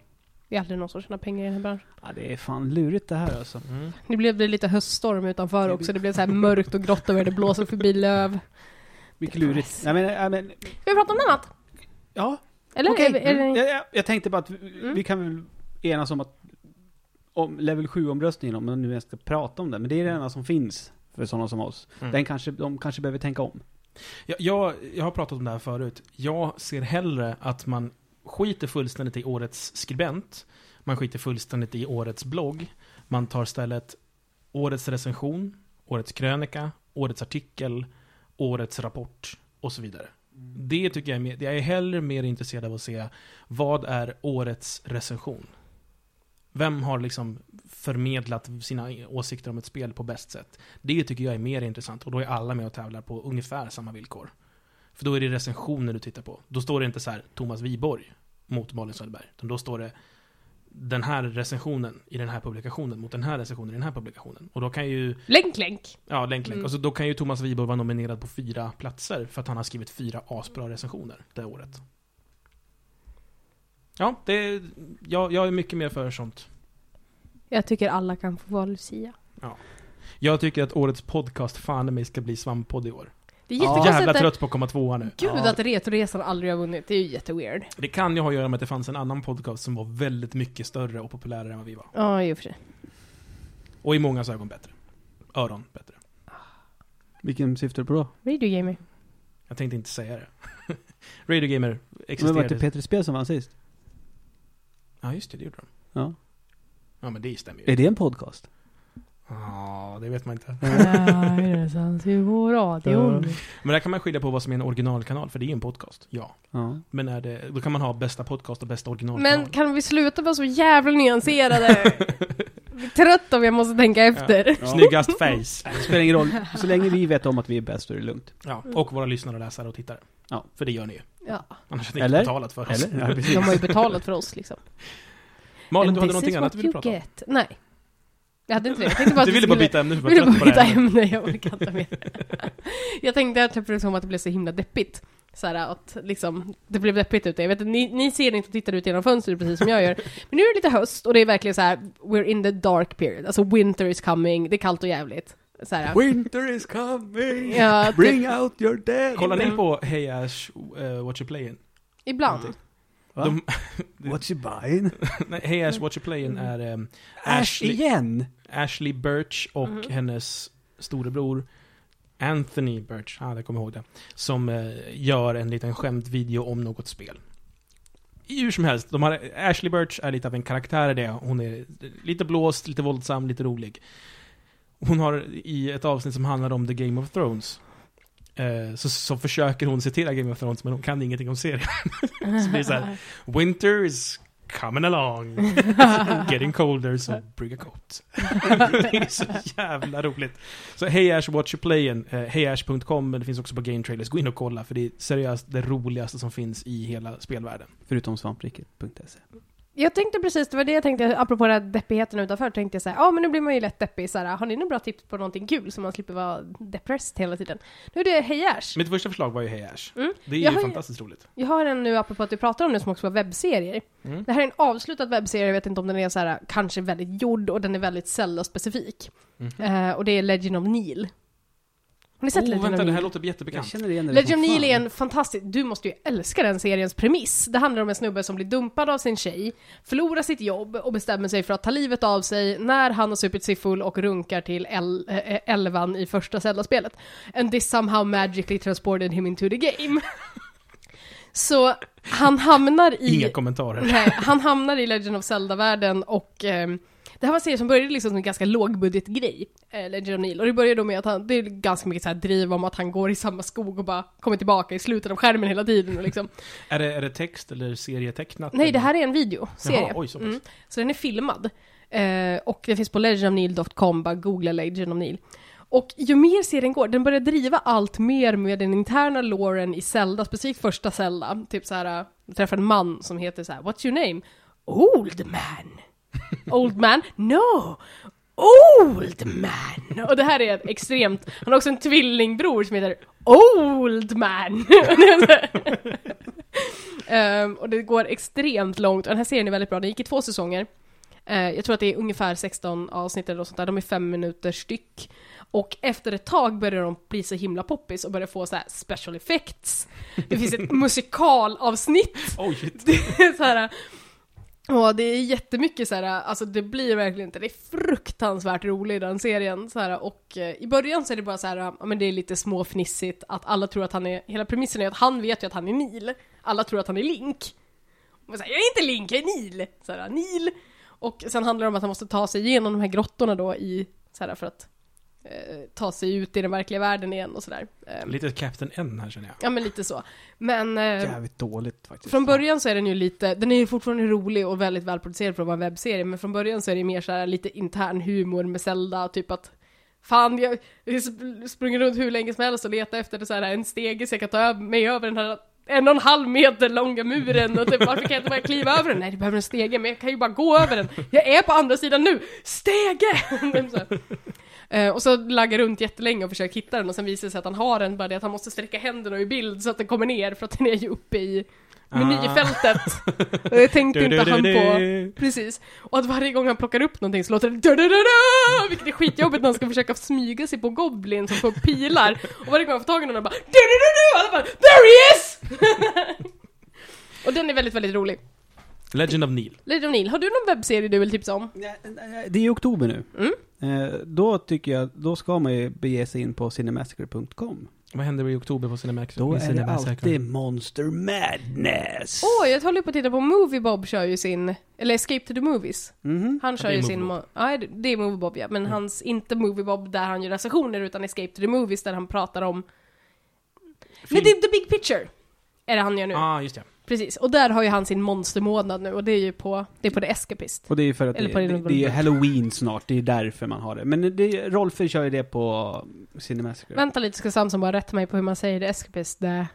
Det är aldrig någon som tjänar pengar i den här branschen. Ja, det är fan lurigt det här alltså. Nu blev det lite höststorm utanför också, det blev så här mörkt och grått över det blåser förbi löv. Mycket Det är lurigt. nice. Nej, men, nej, men, Ska vi prata om något annat? ja, Eller? okej. Är, vi- är Mm. det... Jag, jag, jag tänkte bara att vi, Mm. vi kan väl enas om att om level 7-omröstningen, om man nu ens ska prata om det, men det är det enda som finns för sådana som oss. Mm. Den kanske, de kanske behöver tänka om. Jag, jag, jag har pratat om det här förut. Jag ser hellre att man skiter fullständigt i årets skribent. Man skiter fullständigt i årets blogg. Man tar istället årets recension, årets krönika, årets artikel, årets rapport och så vidare. Det tycker jag är mer, jag är hellre mer intresserad av att se vad är årets recension? Vem har liksom förmedlat sina åsikter om ett spel på bäst sätt? Det tycker jag är mer intressant och då är alla med och tävlar på ungefär samma villkor. För då är det recensioner du tittar på. Då står det inte så här Thomas Wiborg mot Malin Söderberg, utan då står det den här recensionen i den här publikationen mot den här recensionen i den här publikationen. Och då kan ju, Länk, länk. ja länk, länk. Mm. Och så då kan ju Thomas Wiborg vara nominerad på fyra platser för att han har skrivit fyra asbra recensioner det året. Ja, det, jag, jag är mycket mer för sånt. Jag tycker alla kan få vara Lucia. Jag tycker att årets podcast fan i mig ska bli svamppodd i år. Det är Ja. jättekonstigt Jävla att... trött på att komma tvåa nu. Gud Ja. att Retroresan aldrig har vunnit, det är ju jätteweird. Det kan ju ha att göra med att det fanns en annan podcast som var väldigt mycket större och populärare än vad vi var. Ja, i och för sig. Och i många ögon bättre. Öron bättre. Vilken syftar du på då? Radio *laughs* Gamer. Jag tänkte inte säga det. *laughs* Radio Gamer Men var typ det existerade. Peter Spel som vann sist? ja, just det, det gjorde de. Ja. Ja, men det stämmer ju. Är det en podcast? Ja, det vet man inte. Retroresans i vår radion. Men där kan man skilja på vad som är en originalkanal, för det är ju en podcast. Ja. Ja. Men är det, då kan man ha bästa podcast och bästa originalkanal. Men kan vi sluta vara så *laughs* jävla nyanserade? Jag är Trött om jag måste tänka efter. Snyggast face. Det spelar ingen roll. Så länge vi vet om att vi är bäst så är det lugnt. Ja, och våra lyssnare, läsare och tittare. Ja. För det gör ni ju. Ja. Annars hade ni inte Eller? betalat för oss. *laughs* Eller? Ja, precis. De har ju betalat för oss liksom. Malin, And du hade någonting this is annat du what ville you prata om? get. Nej. Jag hade inte det. Jag tänkte bara att Du vi ville bara skulle- byta ämne, för Jag du ville var trött på bara det byta här. ämne, jag orkar inte mer. *laughs* Jag tänkte att det blev som att det blev så himla deppigt. Så här att liksom, det blev deppigt ute. Jag vet att ni, ni ser inte och tittar ut genom fönstret precis som jag gör. Men nu är det lite höst och det är verkligen så här, we're in the dark period. Alltså winter is coming, det är kallt och jävligt. Så här, Winter is coming! Ja, typ. Bring out your dead! Kollar ni på Hey Ash, uh, What You Playing? ibland. Va? De- What you buying? *laughs* Nej, hey Ash, What You Playing är ehm, Ash Ashley- igen! Ashley Birch och Mhm. hennes storebror Anthony Birch, ah, jag kommer ihåg det, som eh, gör en liten skämtvideo om något spel. Hur som helst, de har, Ashley Birch är lite av en karaktär i det. Hon är lite blåst, lite våldsam, lite rolig. Hon har i ett avsnitt som handlar om The Game of Thrones eh, så, så försöker hon citera Game of Thrones men hon kan ingenting om serien. så blir det så här, Winter is coming *laughs* along. Getting colder, so bring a coat. det är så jävla roligt. Så Hey Ash, what you playing? Eh, heyash.com, men det finns också på Game Trailers. Gå in och kolla, för det är seriöst det roligaste som finns i hela spelvärlden. Förutom svampriket.se. Jag tänkte precis, det var det jag tänkte, apropå den här deppigheten utanför, tänkte jag så här, ja men nu blir man ju lätt deppig så här, har ni några bra tips på någonting kul så man slipper vara depressed hela tiden? Nu är det Hey Ash. Mitt första förslag var ju Hey Ash. Mm. Det är Jag ju har ju- fantastiskt roligt. Jag har en nu, apropå att vi pratar om det, som också var webbserier. Mm. Det här är en avslutad webbserie, jag vet inte om den är så här, kanske väldigt gjord och den är väldigt Zelda-specifik. Mhm. Eh, och det är Legend of Neil. Har ni sett Oh, Legend vänta, of det Neil? här låter Jag jättebekant. känner igen det Legend som of Neil fan. är en fantastisk, du måste ju älska den seriens premiss. Det handlar om en snubbe som blir dumpad av sin tjej, förlorar sitt jobb och bestämmer sig för att ta livet av sig när han har supit sig full och runkar till el- eh, elvan i första Zelda-spelet. And this somehow magically transported him into the game. *laughs* Så han hamnar i... Inga kommentarer. *laughs* Nej, han hamnar i Legend of Zelda-världen och ehm, det här var en serie som började liksom som en ganska lågbudgetgrej, eh, Legend of Neil. Och det började då med att han, det är ganska mycket så här driv om att han går i samma skog och bara kommer tillbaka i slutet av skärmen hela tiden och liksom. Är det, är det text eller serietecknat? Nej, det eller? här är en videoserie. Jaha, oj, så pass. Mm. så den är filmad. Eh, och den finns på legendofneil.com, bara googla Legend of Neil. Och ju mer serien går, den börjar driva allt mer med den interna loren i Zelda, specifikt första Zelda. Typ så här, eh, träffar en man som heter så här, what's your name? *laughs* Old man. Old man? No! Old man! Och det här är extremt, han har också en tvillingbror som heter *laughs* Old man! *laughs* Ehm, och det går extremt långt, och den här serien är väldigt bra, den gick i två säsonger. Eh, jag tror att det är ungefär 16 avsnitt eller något sånt där, de är fem minuter styck. Och efter ett tag börjar de bli så himla poppis och börjar få så här special effects. Det finns ett musikalavsnitt Oj, shit. *laughs* det är så här, och det är jättemycket så här, alltså det blir verkligen inte, det är fruktansvärt roligt den serien så här, och eh, i början så är det bara så här, ja men det är lite småfnissigt att alla tror att han är, hela premissen är att han vet ju att han är Neil, alla tror att han är Link. Och så här, jag är inte Link, jag är Neil! Så här, Neil! Och sen handlar det om att han måste ta sig igenom de här grottorna då i, så här, för att eh, ta sig ut i den verkliga världen igen och sådär. Eh, Lite Captain N här känner jag. ja men lite så. Men... eh, Jävligt dåligt faktiskt. från början så är den ju lite, den är ju fortfarande rolig och väldigt välproducerad för att vara en webbserie, men från början så är det mer så här lite intern humor med Zelda, typ att Fan, jag jag sp- sprungit runt hur länge som helst och letat efter det så här, en stege så jag kan ta ö- mig över den här en och en halv meter långa muren och typ, varför kan jag inte bara kliva över den? Nej, det behöver en stege, men jag kan ju bara gå över den. Jag är på andra sidan nu! Stege! *laughs* Typ så här. Eh, och så laggar runt jättelänge och försöker hitta den och sen visar det sig att han har den, bara det att han måste sträcka händerna i bild så att den kommer ner för att den är ju uppe i menyfältet. Och det tänkte Ah. Du, du, inte du, han på. du. Precis. Och att varje gång han plockar upp någonting så låter det da-da-da-da, vilket är skitjobbigt när han ska försöka smyga sig på Goblin som får pilar. Och varje gång han får tag i någon han bara da-da-da-da, och han bara There he is! och den är väldigt, väldigt rolig. Legend of Neil. Lady O'Neill, har du någon webbserie du vill tipsa om? Nej, nej, Det är i oktober nu. Mm. Eh, Då tycker jag, då ska man ju bege sig in på cinemassacre.com. Vad händer i oktober på Cinemax? Då är det Cinemax- alltid Monster Madness! Åh, jag håller på att titta på Movie Bob kör ju sin, eller Escape to the Movies. Mhm. Han kör det är ju Movie sin... Bob. mo- Nej, det- det är Movie Bob ja, men hans, inte Movie Bob där han gör recensioner utan Escape to the Movies där han pratar om... Nej, det är The Big Picture! Är det han gör nu. Ah, just det. Precis, och där har ju han sin monstermånad nu och det är ju på, det är på The Escapist. Och det är ju för att Eller det, på det, din- det är halloween snart, det är därför man har det. Men det, Rolfer kör ju det på Cinemassacre. Vänta lite ska Samson bara rätta mig på hur man säger The Escapist. The...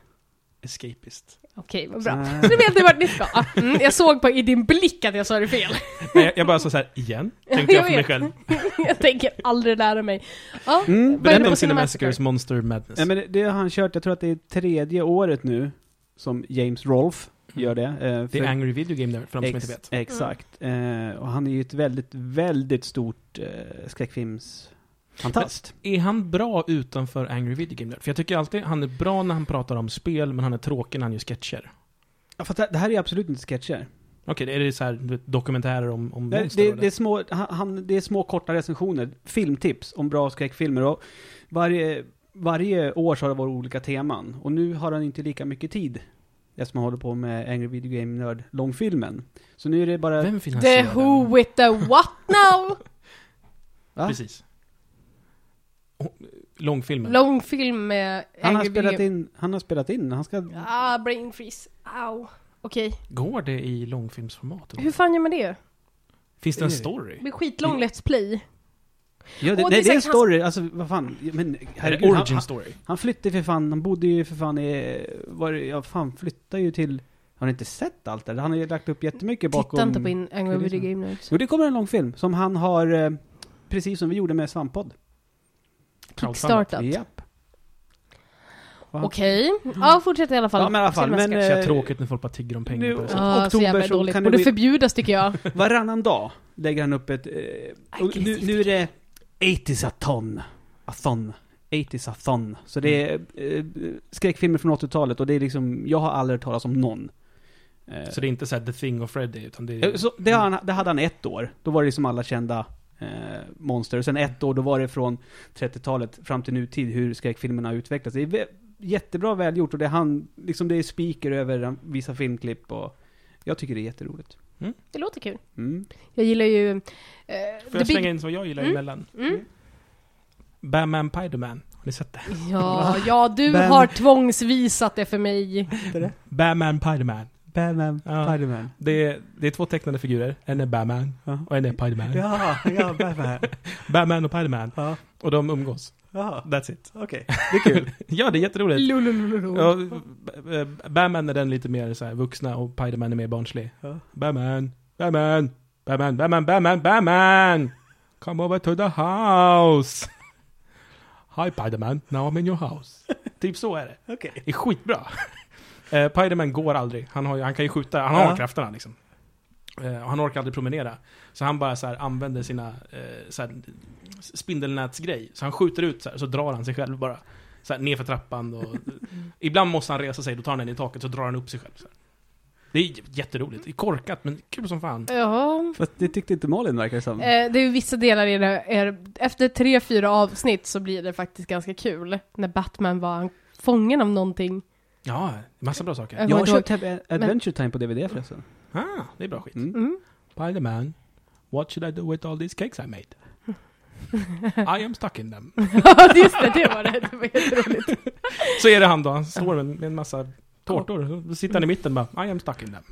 Escapist. Okej, vad bra. Ah. Så nu vet ni vart ni ska. Ah, Mm, jag såg på i din blick att jag sa det fel. *laughs* *laughs* Nej, jag, jag bara sa såhär, igen? Tänkte Jag jag för mig vet. själv. jag tänker aldrig lära mig. Ja, Mm. Vad är det Berätta på om Cinemassacre? Cinemassacres Monster Madness. Nej, men det, det har han kört, jag tror att det är tredje året nu som James Rolfe gör det. eh, det för- är Angry Video Game där, för de som inte vet. Exakt. Eh, och han är ju ett väldigt, väldigt stort eh, skräckfilmsfantast. Är han bra utanför Angry Video Game Nerd? För jag tycker alltid han är bra när han pratar om spel, men han är tråkig när han gör sketcher. Ja, fast det det här är absolut inte sketcher. Okej, är det så här, du vet, dokumentärer om, om Det, monster? det, och det, är små, han- han, det är små korta recensioner, filmtips om bra skräckfilmer. Och varje, varje år så har det varit olika teman. Och nu har han inte lika mycket tid. Eftersom han håller på med Angry Video Game Nerd långfilmen. Så nu är det bara... Vem The finansierar Who den? with the What now? Va? Precis. Oh, Långfilmen. Långfilm med Han har, Angry spelat Video. in, han har spelat in, han ska... Ah, brain freeze. Au. Okej, Okej, Går det i långfilmsformat? hur fan gör man det? Finns det en Eh, story? Det blir skitlång Let's Play. Ja, det, Och det är nej, det är en säkert hans- story, alltså vad fan. Men Är herregud, det han, origin story? han flyttade ju för fan, han bodde ju för fan i, var, det- ja fan flyttade ju till, har ni inte sett allt det där? Han har ju lagt upp jättemycket bakom. Titta inte på in Angry det är Video så. Game Nerds. Jo, det kommer en lång film som han har, eh, precis som vi gjorde med Svamppodd. Crowdfundat. Kickstartat. Japp. Och han- Okej, ja fortsätt i alla fall. Ja, men i alla fall, Filmen ska- men, Så jävla eh, tråkigt när folk bara tigger om pengar nu- på det sättet. Ja, så oktober jävla så dåligt. kan det Borde bli- förbjudas tycker jag. *laughs* Varannan dag lägger han upp ett... Eh, och nu, nu är det 80s-a-ton. A-thon. 80s-a-thon. Så det är eh, Mm. skräckfilmer från 80-talet och det är liksom, jag har aldrig hört talas om någon. Eh, Så det är inte såhär The Thing och Freddy, utan det Mm. eh, är... så det, har han, det hade han ett år. Då var det liksom alla kända eh, monster. Och sen ett år, då var det från 30-talet fram till nutid hur skräckfilmerna har utvecklats. Det är vä- jättebra välgjort och det är han, liksom det är speaker över vissa filmklipp och jag tycker det är jätteroligt. Det låter kul. Mm. Jag gillar ju... eh, Får The jag Big- slänga in som jag gillar Mm. emellan? Mm. Batman Piderman. Har ni sett det? Ja, *laughs* ja, du har tvångsvisat det för mig. Batman Piderman. Batman, Ja. Spiderman. Det är, det är två tecknade figurer. En är Batman Ja. och en är Piderman. Ja, ja, Batman. Batman och Piderman. Ja. Och de umgås. Ja, That's it. okej. Det är kul. *laughs* Ja, det är jätteroligt. Lulululu. Ja, B- eh, Batman är den lite mer så här vuxna och Piderman är mer barnslig. Ja. Batman, Batman, Batman, Batman, Batman, Batman! Come over to the house! Hi Piderman, now I'm in your *laughs* house. typ så är det. Okej. Det är skitbra. *laughs* Eh, Spiderman går aldrig. Han, har, ju- han kan ju skjuta, han har Ja. krafterna liksom. Eh, och han orkar aldrig promenera. Så han bara så här, använder sina eh, så här, spindelnätsgrej. Så han skjuter ut så här, så drar han sig själv bara. Så här, ner för trappan *laughs* och... ibland måste han resa sig, då tar han den i taket, så drar han upp sig själv. Så här. Det är j- jätteroligt. Det är korkat, men kul som fan. Ja. *laughs* Fast det tyckte inte Malin verkar det som. Eh, det är ju vissa delar i det är, Efter tre, fyra avsnitt så blir det faktiskt ganska kul. När Batman var fången av någonting. Ja, massa bra saker. Ja. jag har men då- köpt Ad- Adventure Time på DVD förresten. Ah, det är bra skit. Mm. Mm. Spiderman, what should I do with all these cakes I *laughs* made? I am stuck in them. Ja, just det, det var det. Det var jätteroligt. Så är det han då, han står med, med en massa tårtor. Då sitter han i mitten bara, I am stuck in them.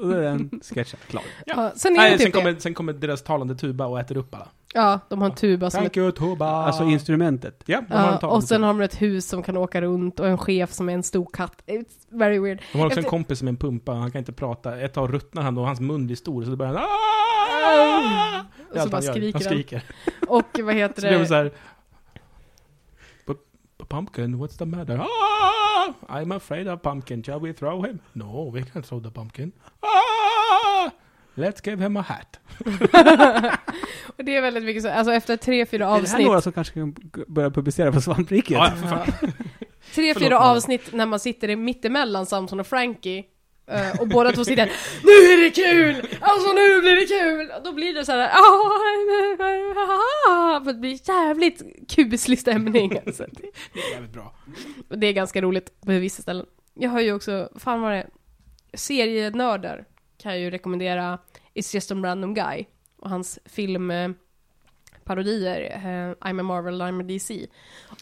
Och då är den sketchen klar. Ja. Ja, sen är det Nej, typ sen, det. kommer, sen kommer deras talande tuba och äter upp alla. Ja, de har en tuba som är Thank you tuba! Alltså instrumentet. ja, de har en Ja, talande och sen tuba. har de ett hus som kan åka runt och en chef som är en stor katt. It's very weird. De har också en efter- kompis som är en pumpa, han kan inte prata. Ett tag ruttnar han då, och hans mun blir stor, så då börjar han Ah! "Aah!" Det Och är allt så bara han gör. skriker Han han. skriker. Och vad heter Så blir det så det? här... "Pu- pu- Pumpkin, what's the matter? Ah! I'm afraid of pumpkin, shall we throw him? No, we can't throw the pumpkin. Ah! Let's give him a hat. Och det *laughs* är väldigt mycket så, alltså efter tre, fyra Är det här avsnitt. några som kanske kan g- börja publicera på Svampriket? Mm. Ja, för fan. Tre, Förlåt, fyra Malin. avsnitt när man sitter i mittemellan Samson och Frankie. eh, Och båda två sitter Nu är det kul! Alltså nu blir det kul! Och då blir det så här. "Ah, För det blir jävligt kuslig stämning. Alltså. Det är jävligt bra. Och det är ganska roligt på vissa ställen. Jag har ju också, fan vad det är, serienördar kan jag ju rekommendera It's just a random guy och hans filmparodier eh, I'm a Marvel, I'm a DC.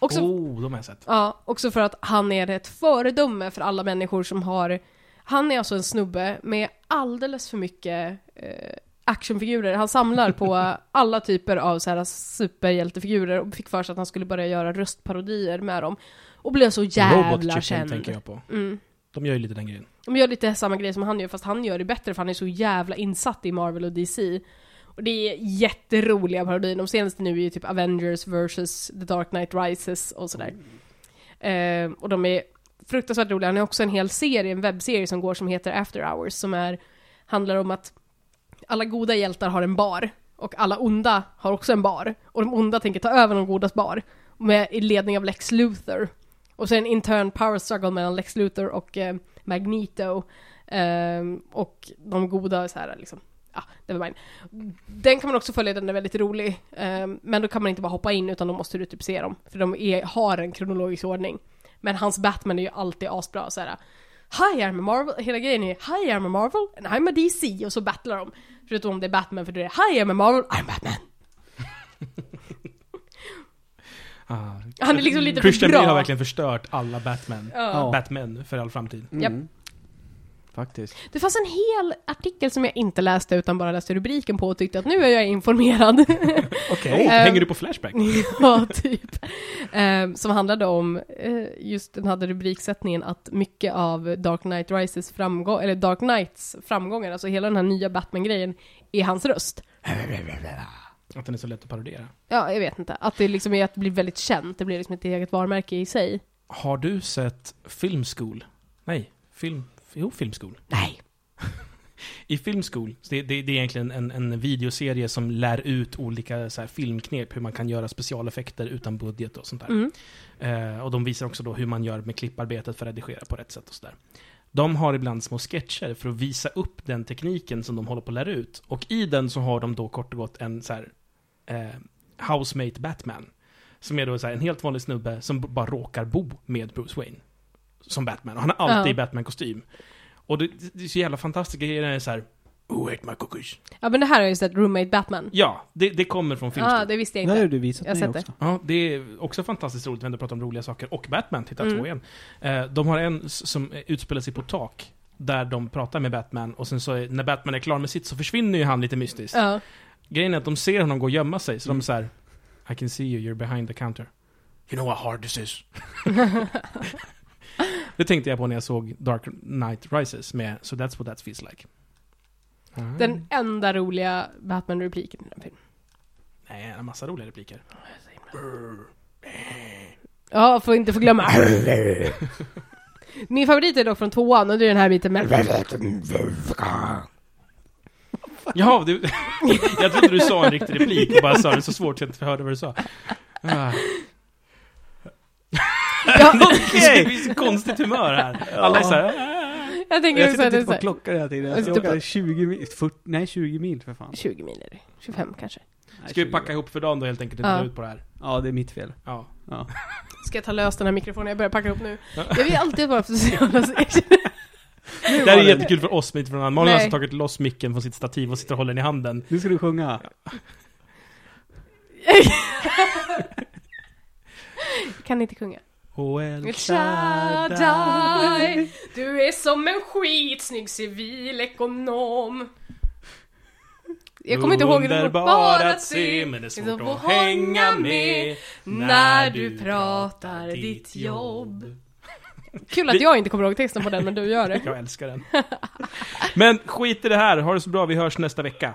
Också, Oh, de har jag sett. ja, också för att han är ett föredöme för alla människor som har han är alltså en snubbe med alldeles för mycket eh, actionfigurer. Han *laughs* samlar på alla typer av så här superhjältefigurer och fick för sig att han skulle börja göra röstparodier med dem. Och blev så Robot jävla Chicken känd. tänker jag på. Mm. De gör ju lite den grejen. De gör lite samma grej som han gör, fast han gör det bättre för han är så jävla insatt i Marvel och DC. Och det är jätteroliga parodier. De senaste nu är ju typ Avengers vs. The Dark Knight Rises och sådär. Eh, och de är fruktansvärt roliga. Han har också en hel serie, en webbserie som går som heter After Hours, som är, handlar om att alla goda hjältar har en bar. Och alla onda har också en bar. Och de onda tänker ta över de godas bar. Med i ledning av Lex Luthor. Och så är det en intern power struggle mellan Lex Luthor och eh, Magneto. Ehm, och de goda är så här liksom, ja, nevermind. Den kan man också följa, den är väldigt rolig. Ehm, men då kan man inte bara hoppa in, utan då måste du typ se dem. För de är, har en kronologisk ordning. Men hans Batman är ju alltid asbra så här. Hi I'm a Marvel, hela grejen är Hi I'm a Marvel and I'm a DC och så battlar de. Förutom om det är Batman för då är det Hi I'm a Marvel, I'm Batman. Ah. Han är liksom lite för Christian Bale bra. har verkligen förstört alla Batman. Ja. Ja. Batman för all framtid. Japp. Mm. faktiskt. Det fanns en hel artikel som jag inte läste utan bara läste rubriken på och tyckte att nu är jag informerad. *laughs* Okej, Ehm. Oh, hänger du på Flashback? *laughs* ja, typ. Ehm, som handlade om, eh, just den hade rubriksättningen att mycket av Dark Knight Rises framgång, eller Dark Knights framgångar, alltså hela den här nya Batman-grejen, är hans röst. *laughs* Att den är så lätt att parodera. Ja, jag vet inte. Att det liksom är att bli väldigt känt, det blir liksom ett eget varumärke i sig. Har du sett Film School? Nej, film... Jo, Film School. Nej. I Film School, så det, det, det är egentligen en, en videoserie som lär ut olika så här, filmknep, hur man kan göra specialeffekter utan budget och sånt där. Mm. Eh, och de visar också då hur man gör med klipparbetet för att redigera på rätt sätt och sådär. De har ibland små sketcher för att visa upp den tekniken som de håller på att lära ut. Och i den så har de då kort och gott en så här, eh, housemate Batman. Som är då så här, en helt vanlig snubbe som b- bara råkar bo med Bruce Wayne. Som Batman. Och han är alltid Ja. i Batman-kostym. Och det, det är så jävla fantastiska grejer. när Det är så här, Who ate my cookies? Ja, men det här har jag ju sett, Roommate Batman. Ja, det, det kommer från filmskolan. Ja, ah, det visste jag Det här har inte. du visat Jag har mig sett också. Ja, det är också fantastiskt roligt. Vi ändå pratar om roliga saker. Och Batman, titta Mm. två igen. Eh, De har en s- som eh, utspelar sig på ett tak. Där de pratar med Batman och sen så är, när Batman är klar med sitt så försvinner ju han lite mystiskt. Ja. Grejen är att de ser honom gå och gömma sig, så de Mm. är så här I can see you, you're behind the counter. You know how hard this *laughs* is. det tänkte jag på när jag såg Dark Knight Rises med So that's what that feels like. Mm. Den enda roliga Batman-repliken i den filmen. Nej, en massa roliga repliker. Ja, får inte få glömma. Min favorit är dock från tvåan och det är den här biten med... Jaha, du, *laughs* jag trodde du sa en riktig replik och bara sa det så svårt så jag inte hörde vad du sa. Ah. Ja, *laughs* Okej! Det är *laughs* så konstigt humör här. Alla är såhär... jag tänker Jag också sitter att det är och tittar så på här, klockan hela tiden. Jag Jag sitter på- åker 20 mil, 40, nej 20 mil för fan. 20 mil är det. 25 kanske. Nej, Ska vi 20. packa ihop för dagen då helt enkelt och Ja. dra ut på det här? Ja, det är mitt fel. Ja. Ja. Ska jag ta lös den här mikrofonen? Jag börjar packa upp nu. Ja. Jag vill alltid vara för så jävla säker. Det här är jättekul för oss, men inte för någon annan. Malin har Nej. alltså tagit loss micken från sitt stativ och sitter och håller den i handen. Nu ska du sjunga. Jag kan inte sjunga. Och El Shaddai. Shaddai, du är som en skitsnygg civilekonom. Jag kommer inte ihåg hur det var. Underbar att se, men det är svårt så att hänga med när du pratar ditt jobb. Kul att Vi- jag inte kommer ihåg texten på den, men du gör det. Jag älskar den. Men skit i det här, ha det så bra, vi hörs nästa vecka.